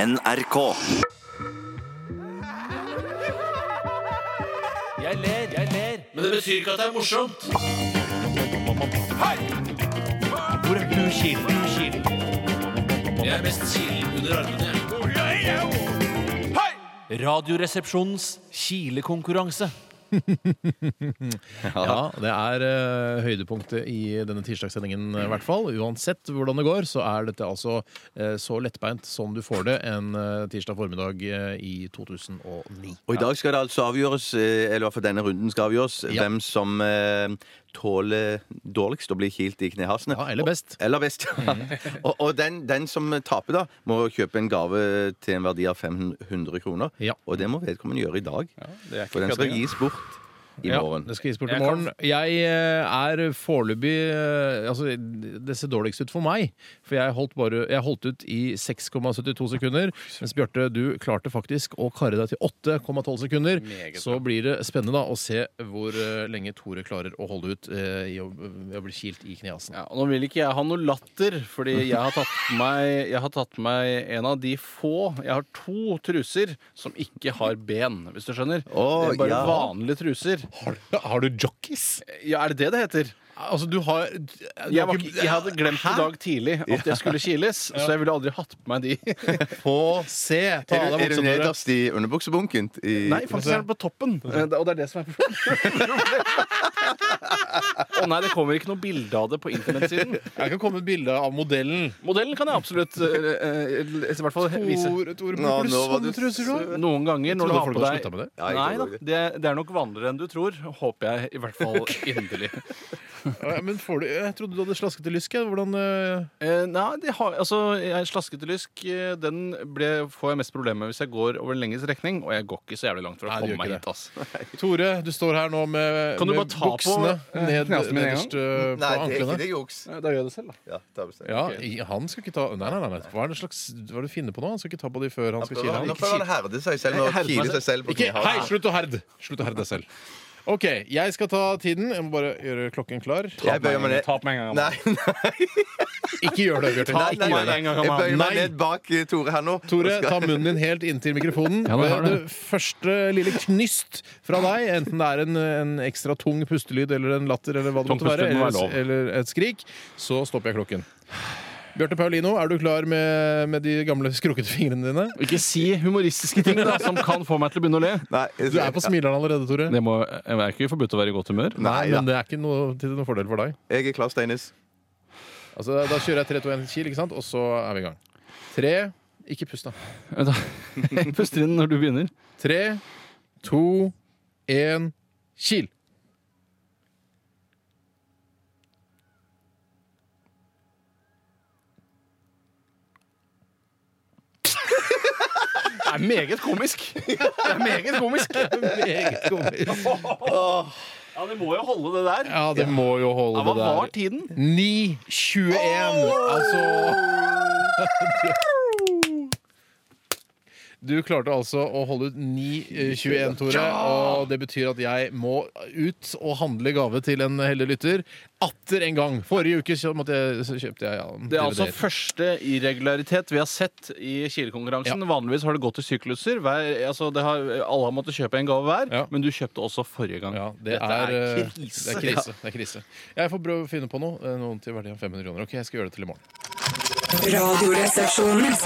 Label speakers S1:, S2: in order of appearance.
S1: NRK.
S2: Jeg ler, jeg ler. Men det betyr ikke at det er morsomt. Hei! Hvor er du kilen? Du kilen. Jeg er mest kilen under armene. Hei! Radioresepsjonens kilekonkurranse.
S3: Ja, det er eh, høydepunktet i denne tirsdagssendingen, eh, i hvert fall. Uansett hvordan det går, så er dette altså eh, så lettbeint som du får det en eh, tirsdag formiddag eh, i 2009.
S4: Og i dag skal det altså avgjøres, eh, eller i hvert fall denne runden skal avgjøres,
S3: Ja.
S4: hvem som eh, tåler dårligst å bli kilt i knehasene.
S3: Ja, eller best. Mhm.
S4: Eller best, ja. og og den, den som taper, da, må kjøpe en gave til en verdi av 500 kroner.
S3: Ja.
S4: Og det må vedkommende gjøre i dag.
S5: det er ikke
S4: For den skal
S5: kødding,
S4: gis bort i
S3: Ja,
S4: morgen.
S3: det skal gis bort i
S5: Jeg
S3: morgen.
S5: kan-
S3: Jeg eh, er foreløpig eh, Altså, det ser dårligst ut for meg. For jeg holdt, bare, jeg holdt ut i 6,72 sekunder. Mens Bjarte, du klarte faktisk å karre deg til 8,12 sekunder. Så blir det spennende da å se hvor eh, lenge Tore klarer å holde ut eh, i å, ved å bli kilt i knehasen.
S5: Ja, og nå vil ikke jeg ha noe latter, fordi jeg har tatt på meg, jeg har tatt på meg en av de få Jeg har to truser som ikke har ben, hvis du skjønner.
S4: Å,
S5: det er bare
S4: ja.
S5: vanlige truser.
S3: Har, har du jockeys?
S5: Ja, Er det det det heter?
S3: Eh, Altså, du har du
S5: Jeg,
S3: har
S5: var,
S3: ikke-
S5: ikke- jeg hadde glemt i dag tidlig at jeg skulle kiles, så jeg ville aldri hatt på meg de.
S3: Få se! Ta
S4: Er
S3: av
S4: du, er du
S3: deg buksa, Tore.
S4: nederst i underbuksebunken? I-
S5: Nei, faktisk er den på toppen. Eh, Og det er det som er problemet. Å nei, det kommer ikke noe bilde av det på internettsiden.
S3: Jeg kan komme et bilde av modellen.
S5: Modellen kan jeg absolutt eh, eh, i hvert fall vise.
S3: Tore, Tore,
S4: Nå,
S3: bruker du
S4: nå var
S3: sånne
S4: du
S3: truser, du?
S5: Noen ganger når du
S3: trodde
S5: har
S3: folk
S5: på
S3: hadde
S5: deg
S3: sluttet med det.
S4: Ja, jeg
S5: Nei da,
S4: tror det.
S5: det, det er nok vanligere enn du tror. Håper jeg i hvert fall inderlig.
S3: Ja, men får du, jeg trodde du hadde slasket i lysk. jeg. Hvordan eh,
S5: Eh, nei, de har, altså, jeg slaskete lysk eh, Den ble, får jeg mest problemer med hvis jeg går over en lengre strekning. Og jeg går ikke så jævlig langt for å
S3: Nei, du gjør
S5: komme meg
S3: ikke
S5: hit. ass
S3: Tore, du står her nå med,
S5: Kan du
S3: med
S5: bare ta på,
S3: buksene
S5: eh,
S3: ned,
S5: knasen min en gang?
S3: nederst eh, på
S4: Nei, det er ikke
S3: anklene.
S4: det juks.
S5: Da gjør jeg det selv, da.
S4: Ja, ta bestemt.
S3: Ja, i- han skal ikke ta Nei, nei, nei, nei. Hva er det slags Hva er det du finner på nå? Han skal ikke ta på de før han skal
S4: Nå
S3: kile han.
S4: prøver han å herde seg selv med å
S5: Herde meg
S4: kile
S5: selv.
S4: seg selv på
S3: Ikke,
S4: knehasene.
S3: hei, slutt å herde! Slutt å herde deg selv. OK, jeg skal ta tiden. Jeg må bare gjøre klokken klar.
S4: Jeg bøyer meg ned.
S5: Ta på meg en gang.
S4: Nei, nei,
S3: Ikke gjør det, Bjarte.
S4: nei,
S3: Ikke
S4: nei,
S3: gjør
S4: nei.
S3: det.
S4: Jeg bøyer meg
S3: Nei.
S4: ned bak eh, Tore her nå.
S3: Tore,
S4: Og skal-
S3: ta munnen din helt inntil mikrofonen.
S5: Ja, det har
S3: det, første lille knyst fra deg, enten det er en, en ekstra tung pustelyd eller en latter eller hva det
S5: Tung
S3: måtte være,
S5: pustelyd må være
S3: eller,
S5: lov.
S3: eller et skrik, så stopper jeg klokken. Bjarte Paulino, er du klar med, med de gamle skrukkete fingrene dine?
S5: Ikke si humoristiske ting da som kan få meg til å begynne å le.
S4: Nei, jeg-
S3: Du er på smileren allerede, Tore.
S5: Det må, jeg er ikke forbudt å være i godt humør.
S4: Nei da.
S3: Men det er ikke noe, til noen fordel for deg.
S4: Jeg er Klar Steines.
S3: Altså, da kjører jeg 3, 2, 1 kil, ikke sant? og så er vi i gang. Tre Ikke pust, da.
S5: Vent Eh, da. Jeg puster inn når du begynner.
S3: Tre, to, én, kil.
S5: Det er meget komisk. Det er meget komisk.
S3: Meget komisk.
S5: Ja, det må jo holde, det der.
S3: Ja, det må jo holde,
S5: Hva
S3: det der.
S5: var tiden?
S3: 9.21. Altså Du klarte altså å holde ut 9.21, Tore. Og det betyr at jeg må ut og handle gave til en heldig lytter. Atter en gang! Forrige uke så måtte jeg, så kjøpte jeg ja,
S5: Det er altså
S3: DVD-er.
S5: første irregularitet vi har sett i Kilekonkurransen. Vanligvis har det gått til sykluser. Hver, altså det har, alle har måttet kjøpe en gave hver,
S3: Ja.
S5: men du kjøpte også forrige gang.
S3: ja, det,
S5: Dette
S3: er, eh,
S5: krise.
S3: det er krise. Det er krise. Jeg får prøve å finne på noe. eh, Noen til verdi av 500 kroner. Ok, jeg skal gjøre det til i morgen.
S6: Radioresepsjonen.